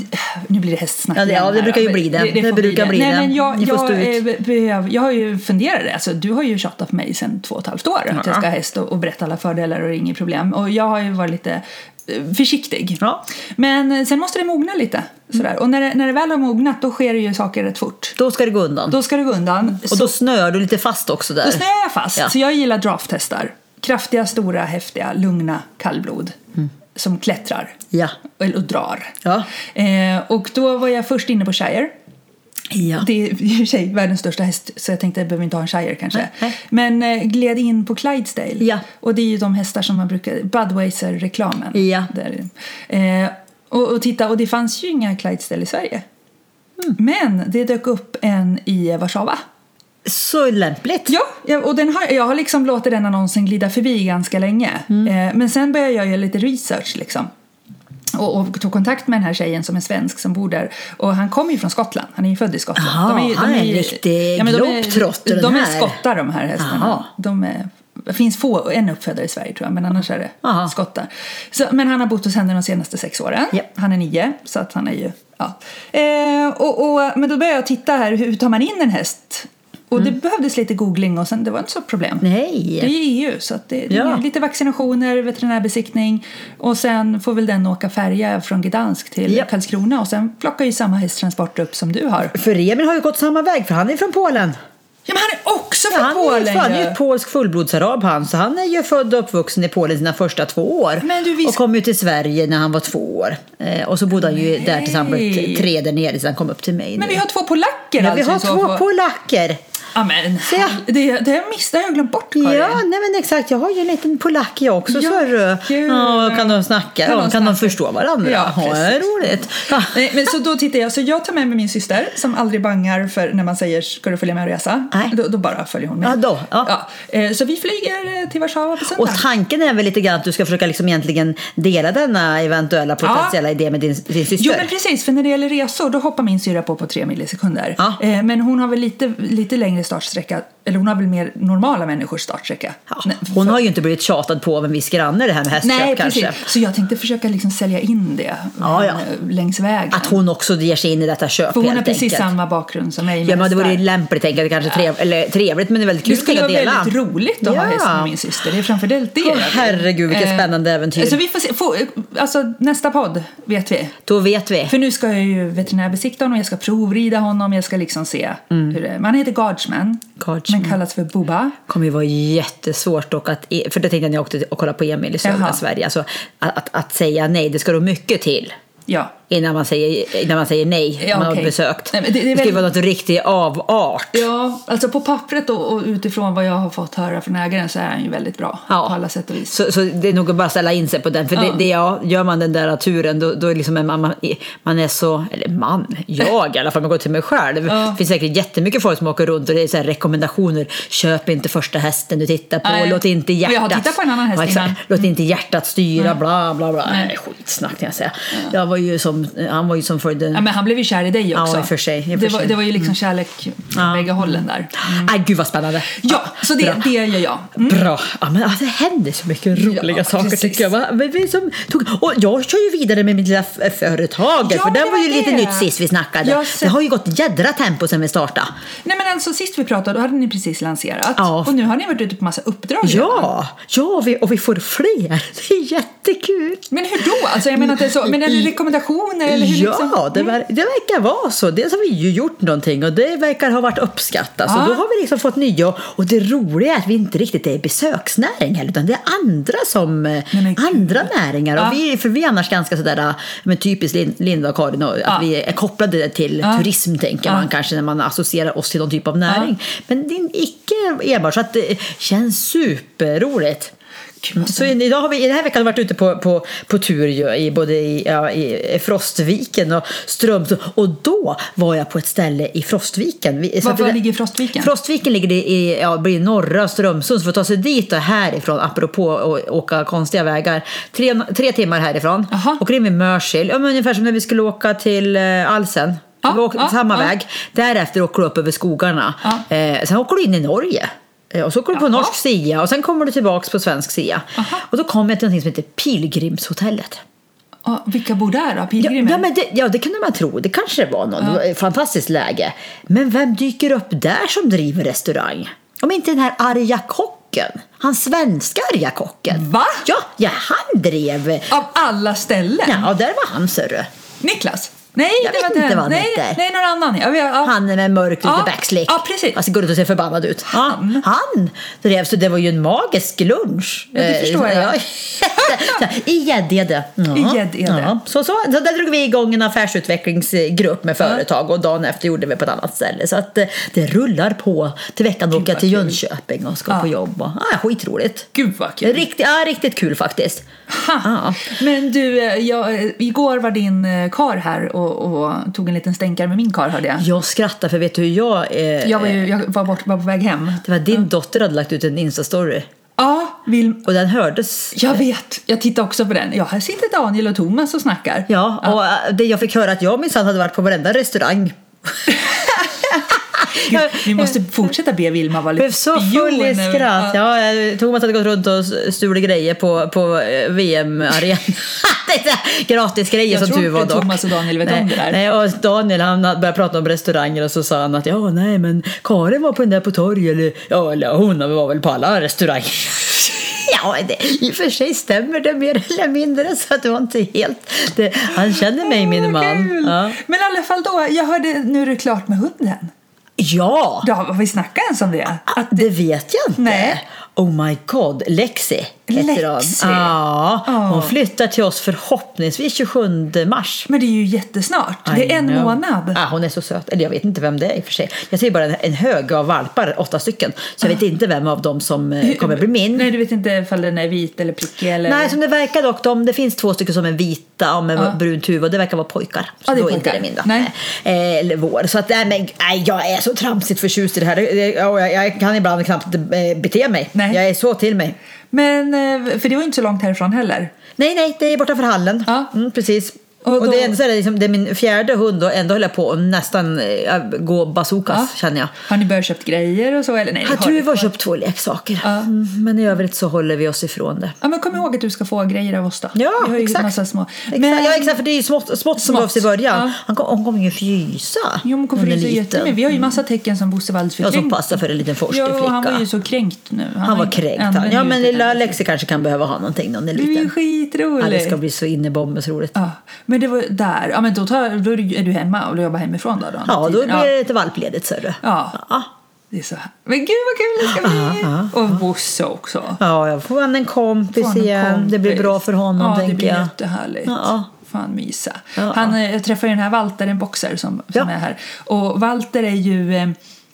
Speaker 3: nu blir det hästsnack
Speaker 2: Ja, det- ja,
Speaker 3: igen
Speaker 2: det
Speaker 3: här,
Speaker 2: brukar ju
Speaker 3: men
Speaker 2: bli det. Det
Speaker 3: får
Speaker 2: brukar bli
Speaker 3: Nej,
Speaker 2: det.
Speaker 3: Men jag,
Speaker 2: Ni får
Speaker 3: jag,
Speaker 2: stå ut.
Speaker 3: eh, behöv- jag har ju funderat det. Alltså, du har ju tjatat på mig sedan två och ett halvt år att jag ska ha häst och, och berätta alla fördelar och inga problem. Och jag har ju varit lite eh, försiktig.
Speaker 2: Ja.
Speaker 3: Men eh, sen måste det mogna lite. Sådär. Och när det, när det väl har mognat då sker det ju saker rätt fort.
Speaker 2: Då ska det gå undan.
Speaker 3: Då ska det gå undan.
Speaker 2: och då snör du lite fast också där.
Speaker 3: Då snöar jag fast.
Speaker 2: Ja.
Speaker 3: Så jag gillar drafthästar. Kraftiga, stora, häftiga, lugna kallblod.
Speaker 2: Mm.
Speaker 3: Som klättrar
Speaker 2: Ja.
Speaker 3: och, och drar.
Speaker 2: Ja.
Speaker 3: Eh, och då var jag först inne på Shire.
Speaker 2: ja.
Speaker 3: Det är i och för sig världens största häst så jag tänkte jag behöver inte ha en Shire kanske.
Speaker 2: Nej, nej.
Speaker 3: Men eh, gled in på Clydesdale.
Speaker 2: Ja.
Speaker 3: Och det är ju de hästar som man brukar, Budweiser-reklamen.
Speaker 2: Ja.
Speaker 3: Där. Eh, och, och titta, och det fanns ju inga Clydesdale i Sverige.
Speaker 2: Mm.
Speaker 3: Men det dök upp en i Warszawa.
Speaker 2: Så lämpligt.
Speaker 3: Ja, ja, och den har, jag har liksom låtit den annonsen glida förbi ganska länge.
Speaker 2: Mm.
Speaker 3: Eh, men sen började jag göra lite research liksom. Och, och tog kontakt med den här tjejen som är svensk som bor där. Och han kommer ju från Skottland. Han är ju född i Skottland.
Speaker 2: Jaha, han är en riktig
Speaker 3: men de
Speaker 2: globetrotter,
Speaker 3: är,
Speaker 2: den
Speaker 3: de är
Speaker 2: här.
Speaker 3: skottar de här hästarna.
Speaker 2: Jaha.
Speaker 3: De är, det finns få, en uppfödare i Sverige tror jag, men annars är det
Speaker 2: Jaha.
Speaker 3: skottar. Så, men han har bott hos henne de senaste sex åren.
Speaker 2: Ja.
Speaker 3: Han är nio, så att han är ju... Ja. Eh, och, och, men då började jag titta här, hur tar man in en häst? Och det behövdes lite googling och sen, det var inte så problem.
Speaker 2: Mm. Nej.
Speaker 3: Det är ju EU, så att det, det
Speaker 2: Ja.
Speaker 3: är lite vaccinationer, veterinärbesiktning och sen får väl den åka färja från Gdansk till
Speaker 2: Ja. Mm.
Speaker 3: Karlskrona och sen plockar ju samma hästtransport upp som du har.
Speaker 2: För Emil har ju gått samma väg för han är från Polen.
Speaker 3: Ja, men han är också
Speaker 2: Ja,
Speaker 3: från
Speaker 2: han, är, ju-
Speaker 3: Polen
Speaker 2: han är
Speaker 3: ju.
Speaker 2: ju ett polsk fullblodsarab han så han är ju född och uppvuxen i Polen sina första två år.
Speaker 3: Men du, vi-
Speaker 2: Och kom ju till Sverige när han var två år. Eh, och så bodde han ju där tills han blev
Speaker 3: Nej.
Speaker 2: tre där nere tills han kom upp till mig.
Speaker 3: Men
Speaker 2: nu.
Speaker 3: vi har två polacker
Speaker 2: ja, vi
Speaker 3: alltså.
Speaker 2: har
Speaker 3: i så
Speaker 2: två
Speaker 3: fall.
Speaker 2: polacker.
Speaker 3: Ja, men
Speaker 2: Se.
Speaker 3: det, det har jag missat, det har jag glömt bort Karin.
Speaker 2: Ja, nej men exakt. Jag har ju en liten polack jag också.
Speaker 3: Ja,
Speaker 2: så är det.
Speaker 3: kul.
Speaker 2: ja, kan de snacka? Kan,
Speaker 3: Kan
Speaker 2: ja,
Speaker 3: de
Speaker 2: kan de
Speaker 3: snacka?
Speaker 2: förstå varandra?
Speaker 3: Ja,
Speaker 2: Ja, det är
Speaker 3: precis.
Speaker 2: roligt. Ja.
Speaker 3: Nej, men så då tittar jag. Så jag tar med mig min syster som aldrig bangar för när man säger ska du följa med och resa?
Speaker 2: Nej.
Speaker 3: Då, då bara följer hon med.
Speaker 2: Ja, då, ja.
Speaker 3: eh, Så vi flyger eh, till Warszawa på söndag.
Speaker 2: Och tanken är väl lite grann att du ska försöka liksom egentligen dela denna eventuella potentiella idé med din, din syster?
Speaker 3: Jo men precis, för när det gäller resor då hoppar min syra på på tre millisekunder.
Speaker 2: Ja.
Speaker 3: Eh, men hon har väl lite, lite längre startsträcka, eller hon har väl mer normala människors startsträcka.
Speaker 2: Ja,
Speaker 3: Nej,
Speaker 2: hon har ju inte blivit tjatad på av en viss granne det här med hästköp
Speaker 3: Nej,
Speaker 2: kanske.
Speaker 3: precis. Så jag tänkte försöka liksom sälja in det
Speaker 2: Ja, ja.
Speaker 3: eh, längs vägen.
Speaker 2: Att hon också ger sig in i detta köp
Speaker 3: för hon
Speaker 2: helt
Speaker 3: har precis
Speaker 2: enkelt.
Speaker 3: samma bakgrund som mig. med
Speaker 2: Ja, men det vore ju
Speaker 3: hästar.
Speaker 2: lämpligt tänker jag. Det Kanske trev, eller, trevligt men det är väldigt kul
Speaker 3: Det
Speaker 2: att
Speaker 3: skulle
Speaker 2: kunna
Speaker 3: vara
Speaker 2: dela.
Speaker 3: väldigt roligt att ha
Speaker 2: Ja.
Speaker 3: häst med min syster. Det är framförallt det.
Speaker 2: Åh, herregud, vilket
Speaker 3: Eh,
Speaker 2: spännande äventyr.
Speaker 3: Så vi får se. Få, alltså, nästa podd vet vi.
Speaker 2: Då vet vi.
Speaker 3: För nu ska jag ju veterinärbesikta honom, jag ska provrida honom, jag ska liksom se hur det är. Men han heter Guardsman,
Speaker 2: Mm. Guardsman.
Speaker 3: men kallas för Boba.
Speaker 2: kommer ju vara jättesvårt dock att, för det tänkte jag när jag åkte och kollade på Emil i södra
Speaker 3: Jaha.
Speaker 2: Sverige, alltså, att, att, att säga nej, det ska då mycket till.
Speaker 3: Ja.
Speaker 2: Innan man säger, innan man säger nej,
Speaker 3: Ja,
Speaker 2: om man
Speaker 3: okej.
Speaker 2: har besökt.
Speaker 3: Nej,
Speaker 2: det,
Speaker 3: men det- det är
Speaker 2: ska ju
Speaker 3: väldigt-
Speaker 2: vara något riktigt avart.
Speaker 3: Ja, alltså på pappret och, och utifrån vad jag har fått höra från ägaren så är han ju väldigt bra
Speaker 2: Ja.
Speaker 3: på alla sätt och vis.
Speaker 2: Så, så det är nog att bara ställa in sig på den. För det,
Speaker 3: Ja.
Speaker 2: det, ja, gör man den där turen då, då är liksom en, man, man är så, eller man, jag i alla fall, man går till mig själv.
Speaker 3: Ja.
Speaker 2: Det finns säkert jättemycket folk som åker runt och det är så här rekommendationer. Köp inte första hästen du tittar på,
Speaker 3: Nej.
Speaker 2: låt inte
Speaker 3: Och jag har
Speaker 2: hjärtat...
Speaker 3: tittat på en annan häst
Speaker 2: exakt.
Speaker 3: innan.
Speaker 2: Låt inte hjärtat styra, bla bla bla.
Speaker 3: Nej.
Speaker 2: Nej. Skitsnack kan jag säga. Jag var ju som som, han var ju som följde...
Speaker 3: Ja, men han blev ju kär i dig också.
Speaker 2: Ja, i och för sig, i och för
Speaker 3: det, var,
Speaker 2: sig. Mm.
Speaker 3: det var ju liksom kärlek från
Speaker 2: Ja.
Speaker 3: bägge hållen där.
Speaker 2: Aj, gud vad spännande!
Speaker 3: Ja, så
Speaker 2: bra.
Speaker 3: det, det gör jag.
Speaker 2: Bra! Ja, men alltså, det händer så mycket roliga
Speaker 3: Mm. Ja,
Speaker 2: saker
Speaker 3: precis.
Speaker 2: tycker jag. Va? Vi, vi som tog, och jag kör ju vidare med mitt lilla f- företag.
Speaker 3: Ja,
Speaker 2: för
Speaker 3: det
Speaker 2: den var
Speaker 3: var
Speaker 2: ju lite
Speaker 3: det.
Speaker 2: nytt sist vi snackade.
Speaker 3: Jag ser-
Speaker 2: Det har ju gått jädra tempo sedan vi startade.
Speaker 3: Nej men alltså sist vi pratade då hade ni precis lanserat
Speaker 2: Ja.
Speaker 3: och nu har ni varit ute på massa uppdrag redan.
Speaker 2: Ja, ja vi, och vi får fler. Det är jättekul.
Speaker 3: Men hur då? Alltså jag menar att det är så, men är det rekommendationer eller hur liksom- Mm.
Speaker 2: Ja, det, ver- det verkar vara så. Dels har vi ju gjort någonting och det verkar ha varit uppskattat. Så
Speaker 3: Ja.
Speaker 2: då har vi liksom fått nya. Och det roliga är att vi inte riktigt är besöksnäring heller, utan det är andra som eh,
Speaker 3: men gud.
Speaker 2: andra näringar.
Speaker 3: Ja.
Speaker 2: Och vi, för vi är annars ganska sådär, eh, men typiskt Lin- Linda och Karin, och att
Speaker 3: Ja.
Speaker 2: vi är kopplade till
Speaker 3: Ja.
Speaker 2: turism tänker
Speaker 3: Ja.
Speaker 2: man kanske när man associerar oss till någon typ av näring. Men det är icke enbart, så att det känns superroligt. Så in- idag har vi, i den här veckan har vi varit ute på, på, på tur ju, i både i, ja, i Frostviken och Strömsund. Och då var jag på ett ställe i Frostviken. Vi, så
Speaker 3: Var,
Speaker 2: att det-
Speaker 3: var ligger Frostviken?
Speaker 2: Frostviken ligger i- i ja, blir norra Strömsund, så för att ta sig dit och härifrån, apropå att åka konstiga vägar, tre, tre timmar härifrån,
Speaker 3: Aha.
Speaker 2: åker in vid Mörsil, ja, men ungefär som när vi skulle åka till eh, Alsen.
Speaker 3: Ja,
Speaker 2: vi åker,
Speaker 3: ja,
Speaker 2: samma
Speaker 3: ja.
Speaker 2: väg. Därefter åker du upp över skogarna.
Speaker 3: Ja.
Speaker 2: Eh, sen åker du in i Norge. Eh, Och så åker du på
Speaker 3: Jaha.
Speaker 2: norsk sida och sen kommer du tillbaks på svensk sida.
Speaker 3: Aha.
Speaker 2: Och då kom jag till något som heter Pilgrimshotellet.
Speaker 3: Ja, vilka bor där då?
Speaker 2: Ja,
Speaker 3: Pilgrimer?
Speaker 2: ja, men det, ja, det kunde man tro. Det kanske det var någon. Det var ett fantastiskt läge. Men vem dyker upp där som driver restaurang? Om inte den här arga kocken. Han svenska arga kocken.
Speaker 3: Va?
Speaker 2: Ja, ja han drev.
Speaker 3: Av alla ställen?
Speaker 2: Ja, där var han sörru.
Speaker 3: Niklas? Nej,
Speaker 2: Jag
Speaker 3: det
Speaker 2: vet
Speaker 3: var
Speaker 2: inte
Speaker 3: den.
Speaker 2: vad han
Speaker 3: nej,
Speaker 2: heter.
Speaker 3: nej, någon annan. Jag vet, ja.
Speaker 2: Han med mörk lite
Speaker 3: Ja,
Speaker 2: backslick.
Speaker 3: ja, precis.
Speaker 2: Alltså går ut och ser förbannad ut.
Speaker 3: Han?
Speaker 2: Ja, han drev, så det var ju en magisk lunch. Eh,
Speaker 3: Ja, det förstår jag.
Speaker 2: ja. Så här, I Gäddede. Ja,
Speaker 3: I Gäddede.
Speaker 2: ja. Så, så, så där drog vi igång en affärsutvecklingsgrupp med företag och dagen efter gjorde vi på ett annat ställe. Så att eh, det rullar på. Till veckan åker jag
Speaker 3: vad
Speaker 2: till
Speaker 3: kul.
Speaker 2: Jönköping och ska
Speaker 3: Ja.
Speaker 2: på jobb. Och, ja, skitroligt.
Speaker 3: Gud vad kul.
Speaker 2: Riktigt, ja, riktigt kul faktiskt.
Speaker 3: Ha. Men du, eh, jag, eh, igår var din eh, kar här och, och tog en liten stänkare med min kar hörde jag.
Speaker 2: Jag skrattar för vet du hur jag... Eh,
Speaker 3: Jag var, ju, jag var, bort, var på väg hem.
Speaker 2: Det var din dotter hade lagt ut en Insta-story
Speaker 3: Ja, vill,
Speaker 2: och den hördes
Speaker 3: jag vet. Jag tittade också på den. Ja, här sitter Daniel och Thomas och snackar.
Speaker 2: Ja, och äh, det jag fick höra att jag minsann hade varit på varenda restaurang.
Speaker 3: Gud, vi måste fortsätta be Vilma vara
Speaker 2: blev
Speaker 3: lite
Speaker 2: så full i
Speaker 3: över-
Speaker 2: skratt.
Speaker 3: Ja.
Speaker 2: Ja, eh, Thomas hade gått runt och stulit grejer på, på eh, VM-arenan. Det är Gratisgrejer
Speaker 3: Jag
Speaker 2: som
Speaker 3: tror
Speaker 2: tur var
Speaker 3: inte
Speaker 2: dock.
Speaker 3: Thomas och Daniel vet
Speaker 2: nej,
Speaker 3: om det där.
Speaker 2: Nej, och Daniel han började prata om restauranger och så sa han att ja, nej men Karin var på den där på torg eller ja, eller hon var väl på alla restauranger. Ja, det, i och för sig stämmer det mer eller mindre så att det var inte helt... Det, han känner mig min
Speaker 3: Åh, vad kul.
Speaker 2: man. Ja.
Speaker 3: Men i alla fall då, jag hörde nu är det klart med hunden.
Speaker 2: ja,
Speaker 3: Ja, vad vi snackade ens om det.
Speaker 2: att det vet jag inte.
Speaker 3: Nej.
Speaker 2: Oh my god, Lexi heter hon.
Speaker 3: Lexi.
Speaker 2: Ja,
Speaker 3: Ja.
Speaker 2: hon flyttar till oss förhoppningsvis 27 mars.
Speaker 3: Men det är ju jättesnart. det
Speaker 2: I
Speaker 3: är en
Speaker 2: know.
Speaker 3: månad.
Speaker 2: Ah, hon är så söt. Eller jag vet inte vem det är i och för sig. Jag ser bara en, en hög av valpar, åtta stycken. Så jag vet inte vem av dem som eh, kommer bli min.
Speaker 3: Nej, du vet inte ifall den är vit eller prickig eller...
Speaker 2: Nej, som det verkar dock. De, det finns två stycken som är vita och med
Speaker 3: Ja.
Speaker 2: brunt huvud. Det verkar vara pojkar. Så
Speaker 3: Ja, det är
Speaker 2: då är
Speaker 3: pojkar.
Speaker 2: inte det min då.
Speaker 3: Nej.
Speaker 2: Eh, eller vår. Så att, nej, men, nej, jag är så tramsigt förtjust i det här. Det- det- ja, Jag, jag kan ibland knappt eh, bete mig.
Speaker 3: Nej.
Speaker 2: Jag är så till mig.
Speaker 3: Men, eh, för det var ju inte så långt härifrån heller.
Speaker 2: Nej, nej, det är borta för hallen.
Speaker 3: Ja.
Speaker 2: Mm, precis. Och,
Speaker 3: Och då-
Speaker 2: det, är, ändå så här, liksom, det är min fjärde hund och ändå höll jag på att nästan eh, gå bazookas
Speaker 3: Ja.
Speaker 2: känner jag.
Speaker 3: Har ni börjat köpt grejer och så? Eller nej, det
Speaker 2: Jag
Speaker 3: har
Speaker 2: tror
Speaker 3: ni
Speaker 2: vi var
Speaker 3: inte.
Speaker 2: köpt två leksaker.
Speaker 3: Ja.
Speaker 2: Mm, men i övrigt så håller vi oss ifrån det.
Speaker 3: Ja, men kom ihåg att du ska få grejer av oss då.
Speaker 2: Ja,
Speaker 3: Vi har ju
Speaker 2: exakt.
Speaker 3: massa små.
Speaker 2: Exakt. ja, exakt, för det är ju smått, smått som
Speaker 3: Smått.
Speaker 2: behövs i början.
Speaker 3: Ja.
Speaker 2: Han kom- Hon kommer ju frysa.
Speaker 3: Jo, men kommer
Speaker 2: när hon är
Speaker 3: frysa
Speaker 2: liten. Mm.
Speaker 3: jättemycket. Vi har ju massa tecken som Bosse Walls
Speaker 2: Ja, som passar för en liten
Speaker 3: Ja, och han var ju
Speaker 2: forskningsflicka.
Speaker 3: så kränkt nu.
Speaker 2: Han
Speaker 3: har
Speaker 2: var
Speaker 3: ju-
Speaker 2: kränkt
Speaker 3: använder
Speaker 2: han. Ja,
Speaker 3: ju
Speaker 2: men
Speaker 3: inte
Speaker 2: lilla
Speaker 3: den.
Speaker 2: Lexi kanske kan behöva ha någonting när hon är
Speaker 3: Det är ju
Speaker 2: liten. Ja, det
Speaker 3: skitroligt.
Speaker 2: ska bli så in i bomben så roligt.
Speaker 3: Ja, men det var där. Ja, men då, tar, då är du- är du hemma och du jobbar hemifrån då? då under
Speaker 2: Ja, då
Speaker 3: tiden.
Speaker 2: blir det lite valpledigt, ser du.
Speaker 3: typ. Ja.
Speaker 2: ja.
Speaker 3: Det är så här. Men gud vad kul det ska bli!
Speaker 2: Ja,
Speaker 3: och Bosse också.
Speaker 2: Ja, jag får han en kompis
Speaker 3: Fan, en
Speaker 2: igen. Det blir
Speaker 3: kompis.
Speaker 2: bra för honom,
Speaker 3: ja, det
Speaker 2: tänker
Speaker 3: blir
Speaker 2: jag.
Speaker 3: jättehärligt.
Speaker 2: Ja.
Speaker 3: Fan mysa.
Speaker 2: Ja.
Speaker 3: Han, eh, jag träffade ju den här Walter, en boxer som,
Speaker 2: Ja.
Speaker 3: som är här. Och Walter är ju eh,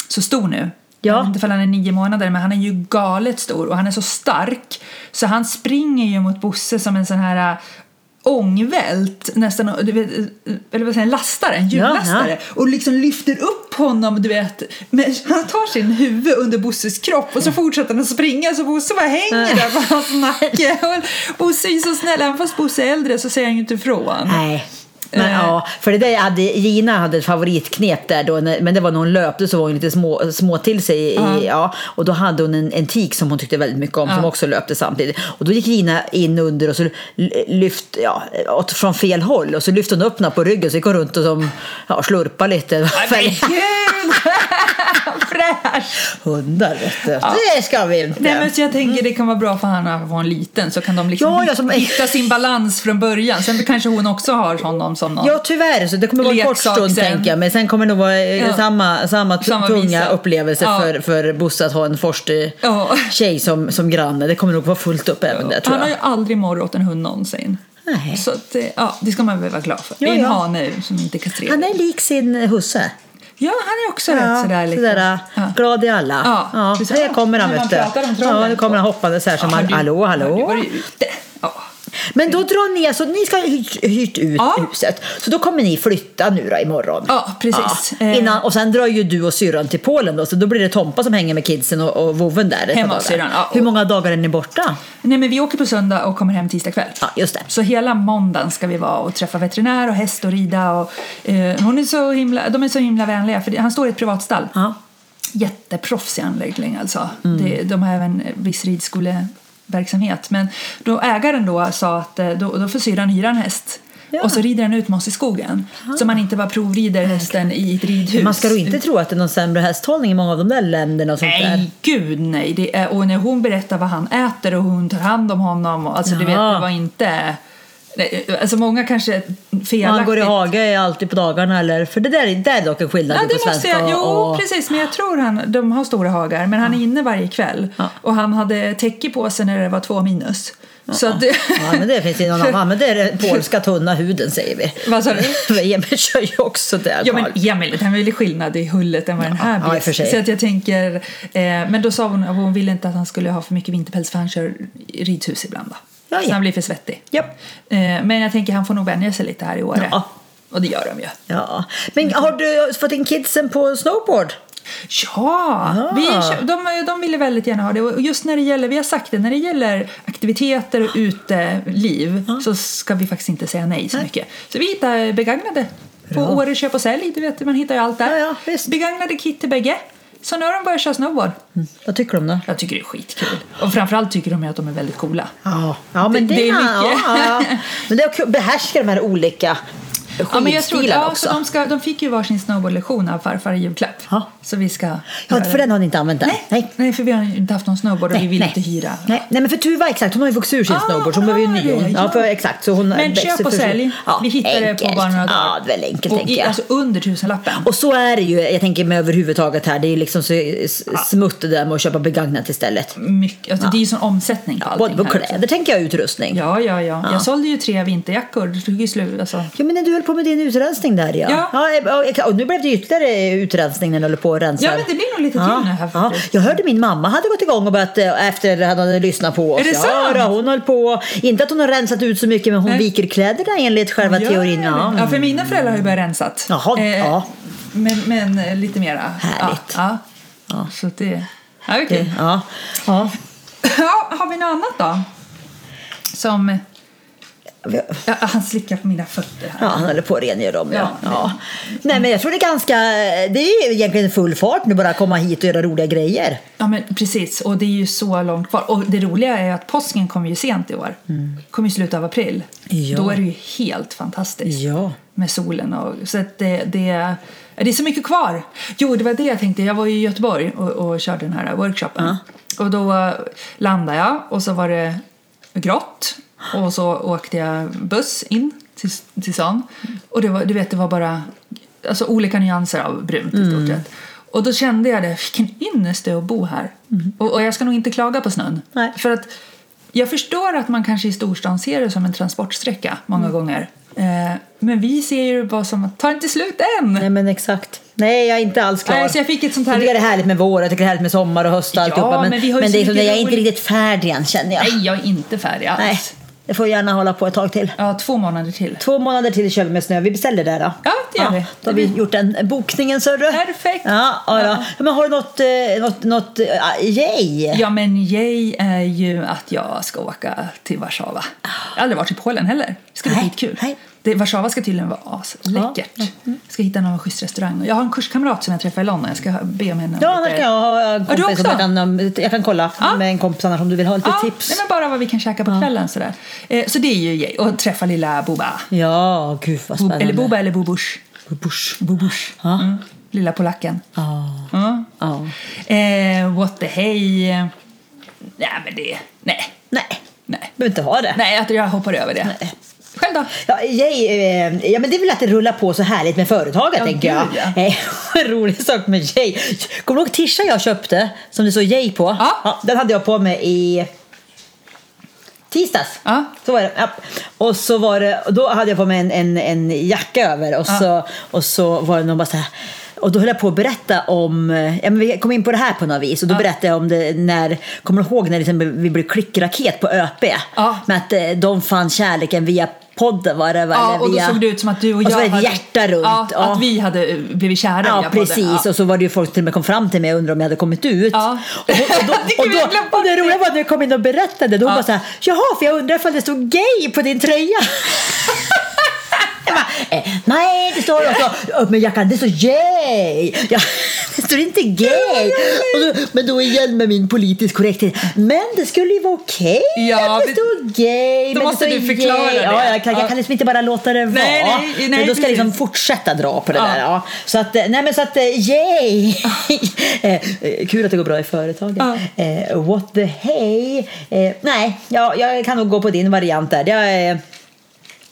Speaker 3: så stor nu.
Speaker 2: Ja.
Speaker 3: Jag vet inte om han är nio månader, men han är ju galet stor och han är så stark. Så han springer ju mot Bosse som en sån här eh, ångvält, nästan, du vet, eh, eller vad säger jag, lastare, en hjullastare.
Speaker 2: Ja,
Speaker 3: Och liksom lyfter upp honom, du vet. Men han tar sin huvud under Bosses kropp och så fortsätter han att springa så Bosse bara hänger där på hans nacke. Och Bosse är ju så snäll, även fast Bosse är äldre så säger han ju inte ifrån.
Speaker 2: Nej. Men,
Speaker 3: Eh.
Speaker 2: ja, för det där hade, Gina hade ett favoritknep där då, när- men det var när hon löpte så var hon lite små, små till sig. I, ja, och då hade hon en, en tik som hon tyckte väldigt mycket om som också löpte samtidigt. Och då gick Gina in under och så l- lyft, ja, åt, från fel håll och så lyfte hon upp henne på ryggen så gick hon runt och som, ja, slurpade lite.
Speaker 3: Men gud! Fräsch!
Speaker 2: Hundar vet du. Det ska vi inte.
Speaker 3: Nej, men så jag tänker det kan vara bra för Hanna att vara en liten så kan de liksom
Speaker 2: Ja, jag som-
Speaker 3: hitta sin balans från början. Sen kanske hon också har honom som någon.
Speaker 2: Ja tyvärr, så det kommer vara en kort
Speaker 3: Leksak
Speaker 2: stund
Speaker 3: sen.
Speaker 2: tänker jag. Men sen kommer det nog vara eh,
Speaker 3: Ja.
Speaker 2: samma, samma, t-
Speaker 3: Samma
Speaker 2: tunga
Speaker 3: visa.
Speaker 2: upplevelse
Speaker 3: Ja.
Speaker 2: för, för Bosse att ha en forstig
Speaker 3: Ja.
Speaker 2: tjej som, som granne. Det kommer nog vara fullt upp även där tror
Speaker 3: Han har
Speaker 2: jag.
Speaker 3: ju aldrig morrat åt en hund någonsin.
Speaker 2: Nej.
Speaker 3: Så att, eh, ja, det ska man väl vara glad för.
Speaker 2: Ja,
Speaker 3: det är en
Speaker 2: ja.
Speaker 3: hane som inte är kastrerad.
Speaker 2: Han är lik sin eh, husse.
Speaker 3: Ja, han är också rätt sådär lite.
Speaker 2: sådär, eh,
Speaker 3: Ja.
Speaker 2: glad i alla.
Speaker 3: Ja, precis.
Speaker 2: det kommer han
Speaker 3: När man
Speaker 2: vet du.
Speaker 3: pratar om trollen.
Speaker 2: Ja, nu kommer han hoppandes här som
Speaker 3: Ja,
Speaker 2: han,
Speaker 3: du-
Speaker 2: hallå,
Speaker 3: ja,
Speaker 2: hallå.
Speaker 3: Du var ju ute. Ja.
Speaker 2: Men då drar ni, alltså ni ska ha hyrt, hyrt ut
Speaker 3: Ja.
Speaker 2: huset. Så då kommer ni flytta nu då imorgon.
Speaker 3: Ja, precis.
Speaker 2: Ja.
Speaker 3: Eh.
Speaker 2: Innan, och sen drar ju du och syrran till Polen då, så då blir det Tompa som hänger med kidsen och, och voven där. ett par
Speaker 3: Hemma
Speaker 2: dagar.
Speaker 3: hos syrran, ja.
Speaker 2: Hur många dagar är ni borta?
Speaker 3: Nej, men vi åker på söndag och kommer hem tisdag kväll.
Speaker 2: Ja, just det.
Speaker 3: Så hela måndagen ska vi vara och träffa veterinär och häst och rida. Och, eh, hon är så himla, de är så himla vänliga, för det, han står i ett privatstall.
Speaker 2: Ja. Mm.
Speaker 3: Jätteproffsig anläggning alltså. Det, de har även viss ridskoleverksamhet. Men då ägaren då sa att eh, då, då får syrran hyra en häst.
Speaker 2: Ja. Ah.
Speaker 3: Och så rider den ut med oss i skogen. Så man inte bara provrider hästen i ett ridhus.
Speaker 2: Man ska då inte tro att det är någon sämre hästhållning i många av de där länderna och sånt där.
Speaker 3: Nej, gud nej. Det är, och när hon berättar vad han äter och hon tar hand om honom. Och, alltså du vet,
Speaker 2: Jaha.
Speaker 3: det var inte... Nej, alltså många kanske felaktigt...
Speaker 2: Man går i hage alltid på dagarna eller? För det där, är- där är dock en skillnad
Speaker 3: Ja,
Speaker 2: på
Speaker 3: det måste
Speaker 2: svenska
Speaker 3: jag. Jo,
Speaker 2: och...
Speaker 3: precis. Men jag tror han, de har stora hagar. Men han är inne varje kväll.
Speaker 2: Ja.
Speaker 3: Och han hade täcke på sig när det var två minus. Så att...
Speaker 2: Ja, men det finns ju någon annan. Men det är den polska tunna huden säger vi.
Speaker 3: Vad sa du?
Speaker 2: Emil kör ju också det.
Speaker 3: Ja men Emil, det här är väl skillnad i hullet än vad den här
Speaker 2: Ja, i och för sig.
Speaker 3: Så att jag tänker, eh, men då sa hon att hon ville inte att han skulle ha för mycket vinterpäls för han kör ridhus ibland då.
Speaker 2: Ja,
Speaker 3: Så
Speaker 2: ja.
Speaker 3: han blir för svettig.
Speaker 2: Japp.
Speaker 3: Eh, men jag tänker han får nog vänja sig lite här i Åre.
Speaker 2: Ja.
Speaker 3: Och det gör de ju.
Speaker 2: Ja, men har du fått in kidsen på snowboard?
Speaker 3: Ja!
Speaker 2: Ja.
Speaker 3: Vi, kö- de, de ville väldigt gärna ha det. Och just när det gäller, vi har sagt det, när det gäller aktiviteter och uteliv så ska vi faktiskt inte säga nej så mycket. Så vi hittar begagnade på Åre köp och sälj. Du vet, man hittar ju allt där.
Speaker 2: Ja, ja, visst.
Speaker 3: Begagnade kit till bägge. Så nu har de börjat köra snowboard.
Speaker 2: Vad tycker du om det?
Speaker 3: Jag tycker det är skitkul. Och framförallt tycker de ju att de är väldigt coola.
Speaker 2: Ja, ja men det,
Speaker 3: Det- det är
Speaker 2: ja,
Speaker 3: mycket.
Speaker 2: ja, ja. Men det är kul att behärska de här olika skidstilarna
Speaker 3: Ja, men jag tror, ja,
Speaker 2: också.
Speaker 3: så de, ska, de fick ju varsin snowboardlektion av farfar i julklapp.
Speaker 2: Ja.
Speaker 3: Så vi ska...
Speaker 2: Ja, för den har ni inte använt än?
Speaker 3: Nej. Nej. för vi har ju inte haft någon snowboard och vi vill inte hyra.
Speaker 2: Nej. nej, men för Tuva exakt, hon har ju vuxit ur sin
Speaker 3: Ah,
Speaker 2: snowboard så hon behöver ju en ny.
Speaker 3: ja,
Speaker 2: hon. Ja,
Speaker 3: ja.
Speaker 2: för, exakt, så hon
Speaker 3: Men
Speaker 2: växer
Speaker 3: köp och
Speaker 2: för sig.
Speaker 3: sälj.
Speaker 2: Ja,
Speaker 3: vi hittar det på
Speaker 2: enkelt.
Speaker 3: bara några dagar.
Speaker 2: Ja, det är väl enkelt
Speaker 3: och,
Speaker 2: tänker
Speaker 3: i-
Speaker 2: jag.
Speaker 3: Alltså under tusenlappen.
Speaker 2: Och så är det ju, jag tänker med överhuvudtaget här, det är ju liksom så s- smutt det där med att köpa begagnat istället.
Speaker 3: Mycket, alltså, Det är ju sån omsättning på allting.
Speaker 2: Både på
Speaker 3: här också.
Speaker 2: kläder tänker jag och utrustning. Ja.
Speaker 3: Ja, ja, ja, Jag sålde ju tre vinterjackor. Det tog ju slut. Alltså.
Speaker 2: men när du höll på med din utrensning där ja.
Speaker 3: Ja.
Speaker 2: ja. och- och nu blev det ytterligare utrensning när du håller på och rensar.
Speaker 3: Ja, men det blir nog lite till
Speaker 2: Ja,
Speaker 3: nu här
Speaker 2: ja.
Speaker 3: faktiskt.
Speaker 2: Jag hörde min mamma hade gått igång och börjat eh, efter att hon hade lyssnat på oss.
Speaker 3: Är det
Speaker 2: ja,
Speaker 3: sant?
Speaker 2: då, hon höll på. Inte att hon har rensat ut så mycket men hon
Speaker 3: Nej.
Speaker 2: viker kläderna enligt själva teorin. Ja.
Speaker 3: Ja, för mina föräldrar har ju börjat rensat. Eh,
Speaker 2: Jaha, ja.
Speaker 3: Men, men eh, lite mera.
Speaker 2: Härligt.
Speaker 3: Ja, ja. Så att det... Ja, det är kul.
Speaker 2: Ja. Ja.
Speaker 3: Ja, har vi något annat då? Som... Ja, han slickar på mina fötter här.
Speaker 2: Ja, han håller på att rengöra dem. Ja.
Speaker 3: Ja.
Speaker 2: Ja. Nej, men jag tror det är ganska... Det är ju egentligen full fart nu bara att komma hit och göra roliga grejer.
Speaker 3: Ja, men precis. Och det är ju så långt kvar. Och det roliga är ju att påsken kommer ju sent i år. Kommer i slutet av april.
Speaker 2: Ja.
Speaker 3: Då är det ju helt fantastiskt.
Speaker 2: Ja.
Speaker 3: Med solen och... Så att det, det, det är så mycket kvar. Jo, det var det jag tänkte. Jag var ju i Göteborg och, och körde den här workshopen. Och då landade jag och så var det grått. Och så åkte jag buss in till, till stan. Och det var, du vet, det var bara alltså, olika nyanser av brunt i stort sett. Och då kände jag det, vilken ynnest det är att bo här. Och, och jag ska nog inte klaga på snön.
Speaker 2: Nej.
Speaker 3: För att jag förstår att man kanske i storstan ser det som en transportsträcka många gånger. Eh, men vi ser ju det bara som att, tar inte slut än!
Speaker 2: Nej, men exakt. Nej, jag är inte alls klar.
Speaker 3: Nej, så jag fick ett sånt här-
Speaker 2: Jag tycker det är härligt med vår, jag tycker det är härligt med sommar och höst och
Speaker 3: Ja,
Speaker 2: alltihopa. Men,
Speaker 3: men vi har ju
Speaker 2: men
Speaker 3: så
Speaker 2: det är som,
Speaker 3: mycket
Speaker 2: jag är inte
Speaker 3: roligt.
Speaker 2: riktigt färdig än känner jag.
Speaker 3: Nej, jag är inte färdig alls.
Speaker 2: Nej. Det får gärna hålla på ett tag till.
Speaker 3: Ja, två månader till.
Speaker 2: Två månader till kör vi med snö. Vi beställer det då.
Speaker 3: Ja, det gör vi.
Speaker 2: Då har vi gjort den bokningen, så du.
Speaker 3: Perfekt.
Speaker 2: Ja, ja, då. Men har du något, eh, något, något eh, yay?
Speaker 3: Ja, men yay är ju att jag ska åka till Warszawa. Jag har aldrig varit i Polen heller. Det ska bli
Speaker 2: Nej,
Speaker 3: skitkul.
Speaker 2: nej.
Speaker 3: Det, Warszawa ska tydligen vara asläckert. Ska hitta någon schysst restaurang. Och Jag har en kurskamrat som jag träffade i London. Jag ska be om henne. om
Speaker 2: Ja, där
Speaker 3: lite-
Speaker 2: kan jag ha en
Speaker 3: Ja,
Speaker 2: kompis
Speaker 3: du
Speaker 2: som
Speaker 3: också?
Speaker 2: jag kan, um, jag kan kolla
Speaker 3: Ja.
Speaker 2: med en kompis annars om du vill ha lite
Speaker 3: Ja,
Speaker 2: tips.
Speaker 3: Nej, men bara vad vi kan käka på kvällen. Sådär. Eh, så det är ju gej. Och träffa lilla Boba.
Speaker 2: Ja, gud vad
Speaker 3: Bob,
Speaker 2: spännande.
Speaker 3: eller Boba eller Bobush.
Speaker 2: Bush.
Speaker 3: Bobush.
Speaker 2: Ja.
Speaker 3: Mm. Lilla polacken.
Speaker 2: Ja.
Speaker 3: Ja.
Speaker 2: Ja.
Speaker 3: Eh, what the hey. Nej, men det... Nej.
Speaker 2: Nej,
Speaker 3: Nej,
Speaker 2: behöver inte ha det.
Speaker 3: nej jag- jag hoppar över det.
Speaker 2: Nej.
Speaker 3: Själv då?
Speaker 2: Ja, yay, eh, ja, men det är väl att det rullar på så härligt med företaget,
Speaker 3: Ja,
Speaker 2: tänker jag.
Speaker 3: gud, ja.
Speaker 2: Eh, En rolig sak med Jay. Kommer du ihåg tishan jag köpte, som det står Jay på?
Speaker 3: Ja.
Speaker 2: Den hade jag på mig i tisdags.
Speaker 3: Ja.
Speaker 2: Så var det. Ja. Och så var det, och då hade jag på mig en, en, en jacka över och, så, och så var det någon bara så här och då höll jag på att berätta om, eh, ja, men vi kom in på det här på något vis och då berättade jag om det när, kommer du ihåg när liksom vi blev klickraket på ÖP?
Speaker 3: Ja.
Speaker 2: Med att eh, de fann kärleken via podden var det va?
Speaker 3: Ja,
Speaker 2: Eller
Speaker 3: och då
Speaker 2: via...
Speaker 3: såg det ut som att du och,
Speaker 2: och
Speaker 3: jag
Speaker 2: så var det ett hjärta runt.
Speaker 3: Ja, Att vi hade eh, blivit kära
Speaker 2: Ja,
Speaker 3: via podden.
Speaker 2: precis. Och så var det ju folk som till och med kom fram till mig och undrade om jag hade kommit ut.
Speaker 3: Ja.
Speaker 2: Och, och, då,
Speaker 3: Det kan
Speaker 2: och,
Speaker 3: vi
Speaker 2: då,
Speaker 3: glömma
Speaker 2: och det roliga var att när jag kom in och berättade, då hon
Speaker 3: Ja.
Speaker 2: bara så här, jaha, för jag undrar ifall det stod gay på din tröja. Jag bara, eh, Nej, det står också upp med jackan, det står gay. Ja, det står inte gay. Och då, men då igen med min politisk korrekthet. Men det skulle ju vara okej
Speaker 3: Ja,
Speaker 2: att det
Speaker 3: vi-
Speaker 2: stod gay.
Speaker 3: Då
Speaker 2: men
Speaker 3: måste
Speaker 2: det
Speaker 3: du
Speaker 2: står
Speaker 3: förklara
Speaker 2: gay.
Speaker 3: det.
Speaker 2: Ja, jag, kan,
Speaker 3: Ja.
Speaker 2: jag kan liksom inte bara låta det vara.
Speaker 3: Nej, nej, nej,
Speaker 2: Men då ska jag liksom
Speaker 3: precis.
Speaker 2: fortsätta dra på det
Speaker 3: Ja.
Speaker 2: där. Ja. Så att, eh, nej men så att, eh, yay! Eh, eh, Kul att det går bra i företaget.
Speaker 3: Ja.
Speaker 2: Eh, what the hey? Eh, nej, ja, jag kan nog gå på din variant där. Jag, eh,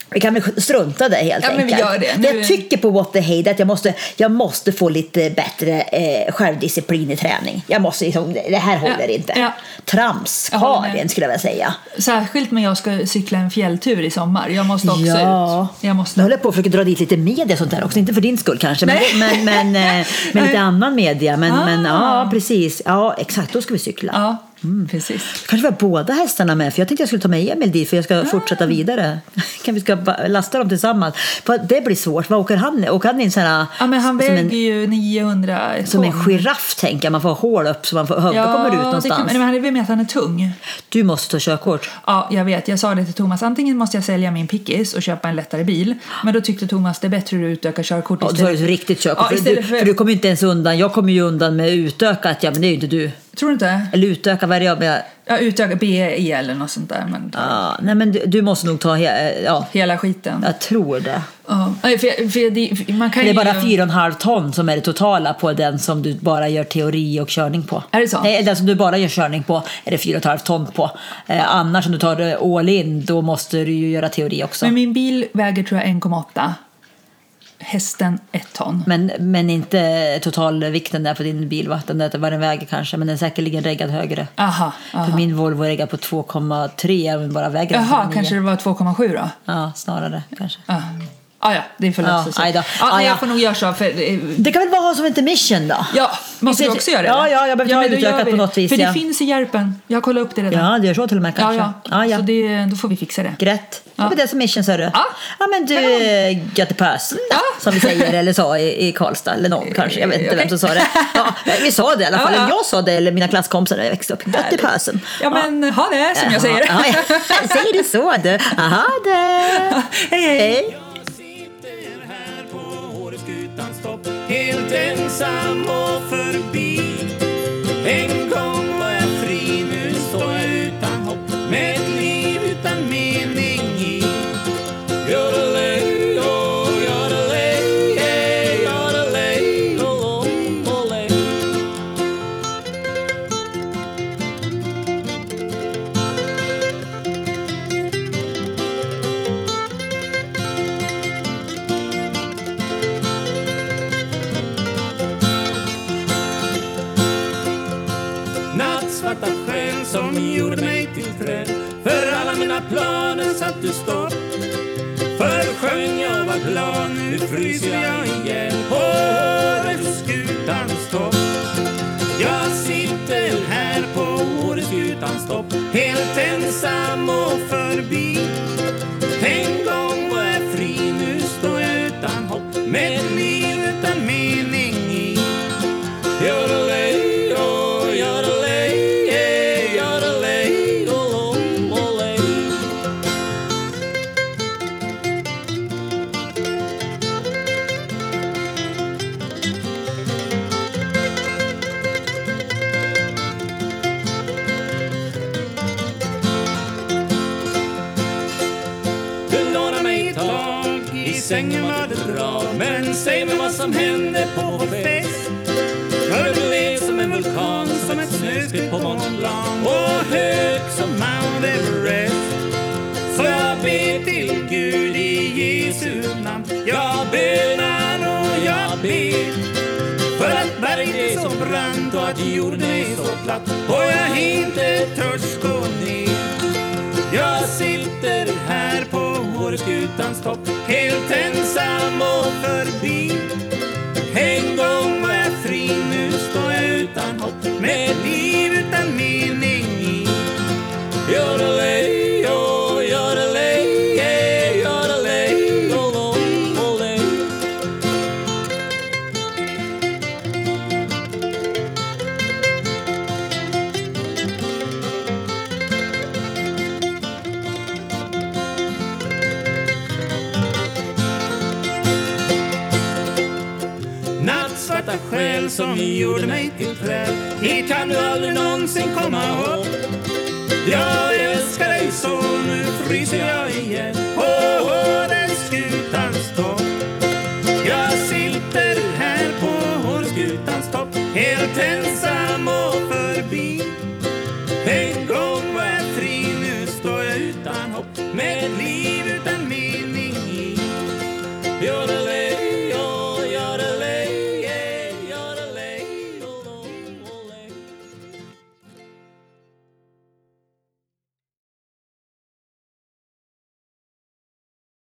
Speaker 2: vi kan väl strunta där helt
Speaker 3: Ja, men vi
Speaker 2: enkelt.
Speaker 3: gör det.
Speaker 2: Det
Speaker 3: Nu-
Speaker 2: jag tycker på What the Hey det är att jag måste, jag måste få lite bättre eh, självdisciplin i träning. Jag måste liksom, det här håller inte.
Speaker 3: ja.
Speaker 2: Trams,
Speaker 3: Jag håller med.
Speaker 2: Karin skulle jag vilja säga.
Speaker 3: Särskilt när jag ska cykla en fjälltur i sommar. Jag måste också
Speaker 2: Ja.
Speaker 3: ut. Jag måste
Speaker 2: Nu håller jag på att försöka dra dit lite media och sånt där också. Inte för din skull kanske, men,
Speaker 3: Nej.
Speaker 2: men, men, eh, men
Speaker 3: Nej.
Speaker 2: lite annan media. Men,
Speaker 3: Ah.
Speaker 2: men ja, precis. Ja, exakt. Då ska vi cykla.
Speaker 3: Ja,
Speaker 2: Mm.
Speaker 3: precis.
Speaker 2: Kanske vi har båda hästarna med, för jag tänkte jag skulle ta med Emil dit för jag
Speaker 3: Ah.
Speaker 2: ska fortsätta vidare. Kan vi ska ba- lasta dem tillsammans? För det blir svårt. Vad åker han? i? Åker han i en sån här...
Speaker 3: Ja, men han
Speaker 2: som
Speaker 3: väger
Speaker 2: en,
Speaker 3: ju 900 ton.
Speaker 2: som en giraff tänker jag. Man får ha hål upp så man får, huvudet kommer ut
Speaker 3: det kan-
Speaker 2: någonstans.
Speaker 3: Men han är väl med att han är tung.
Speaker 2: Du måste ta körkort.
Speaker 3: Ja, jag vet. Jag sa det till Thomas. Antingen måste jag sälja min pickis och köpa en lättare bil. Men då tyckte Thomas det är bättre att utöka körkort
Speaker 2: Ja, då tar du ett riktigt körkort.
Speaker 3: Ja,
Speaker 2: för,
Speaker 3: istället
Speaker 2: du,
Speaker 3: för-
Speaker 2: för du kommer ju inte ens undan. Jag kommer ju undan med utökat. Ja, men det är ju inte du.
Speaker 3: Tror du inte?
Speaker 2: Eller utöka, vad är det jag menar?
Speaker 3: Ja, utöka BE eller något sånt där. Men
Speaker 2: Ja, nej men du, du måste nog ta, he- eh, ja,
Speaker 3: Hela skiten.
Speaker 2: jag tror det.
Speaker 3: Ja, nej, för, för det, för man kan
Speaker 2: Det är bara
Speaker 3: ju,
Speaker 2: 4,5 ton som är det totala på den som du bara gör teori och körning på.
Speaker 3: Är det så?
Speaker 2: Nej, den som du bara gör körning på är det 4,5 ton på. Eh, annars om du tar det all in, då måste du ju göra teori också.
Speaker 3: Men
Speaker 2: Men,
Speaker 3: min bil väger tror jag 1,8. Hästen 1 ton.
Speaker 2: men, inte totalvikten där på din bil, va? Den där, vad den väger kanske, men den är säkerligen reggad högre.
Speaker 3: Aha,
Speaker 2: För
Speaker 3: aha.
Speaker 2: min Volvo är reggad på 2,3 om vi bara väger den
Speaker 3: Jaha,
Speaker 2: 1,9.
Speaker 3: kanske det var 2,7 då?
Speaker 2: Ja, snarare kanske.
Speaker 3: Ja, ah, ja, det är för
Speaker 2: Ja,
Speaker 3: löst.
Speaker 2: aj då.
Speaker 3: ja,
Speaker 2: Aj
Speaker 3: nej,
Speaker 2: då.
Speaker 3: jag får nog göra så. För, eh,
Speaker 2: Det kan väl vara som ett mission då?
Speaker 3: ja, måste du också göra det?
Speaker 2: Ja, ja, jag behöver ta
Speaker 3: men då gör
Speaker 2: utökat
Speaker 3: vi
Speaker 2: på
Speaker 3: det.
Speaker 2: något vis,
Speaker 3: För det
Speaker 2: ja.
Speaker 3: finns i Järpen. Jag kollar upp det redan.
Speaker 2: Ja, det gör så till och med
Speaker 3: ja.
Speaker 2: kanske.
Speaker 3: ja.
Speaker 2: ja, ja.
Speaker 3: Så det, då får vi fixa det.
Speaker 2: Grätt. Det
Speaker 3: Ja.
Speaker 2: var det som mission sa du.
Speaker 3: Ja.
Speaker 2: ja men du, göttepös.
Speaker 3: Ja.
Speaker 2: Som vi säger eller sa i, i Karlstad eller någon kanske. Jag vet inte
Speaker 3: Okej.
Speaker 2: vem som sa det. Ja, vi sa det i alla fall.
Speaker 3: Ja, ja.
Speaker 2: Jag sa det eller mina klasskompisar när jag växte upp. Göttepösen.
Speaker 3: Ja, men ha det som jag säger.
Speaker 2: Ja, ja. Säger du så du? Aha, det.
Speaker 3: hej, hej.
Speaker 2: Hej.
Speaker 1: Jag sitter här på Åreskutans topp Helt ensam och förbi En gång var jag fri, nu står jag utan hopp Med ett liv utan mening i Yodelej, oh, yodelej, hey, yodelej, oh, oh, olej. Nattsvarta sken som gjorde mig till träd För alla mina planer satt du stopp Förr sjöng jag var glad, nu fryser jag igen På Åreskutans topp Jag sitter här på Åreskutans topp Helt ensam och förbi En gång var jag fri, nu står jag utan hopp Med ett liv utan mening i Yodelay, oh, yodelay, yeah, yodelay, oh, oh, olay. sängen var det bra Men säg mig vad som hände på vår fest För du blev som en vulkan, som ett snöskred på Mont Blanc Och hög som Mount Everest Så jag ber till Gud i Jesu namn Jag bönar och jag ber för att berget är så brant och att jorden är så platt och jag inte törs gå ner jag sitter här på Åreskutans topp helt ensam och förbi En gång var jag fri, nu står jag utan hopp med ett liv utan mening i Yodelej, yo, yodelej, yeah, yodelej, lo, lo, lo, lej. Nattsvarta själ som gjorde mig till träd Hit kan du aldrig någonsin komma upp Jag älskar dig så, nu fryser jag igen På Åreskutans topp Jag sitter här på Åreskutans topp Helt ensam och förbi En gång var jag fri, nu står jag utan hopp Med ett liv utan mening i Gör det oh, oh,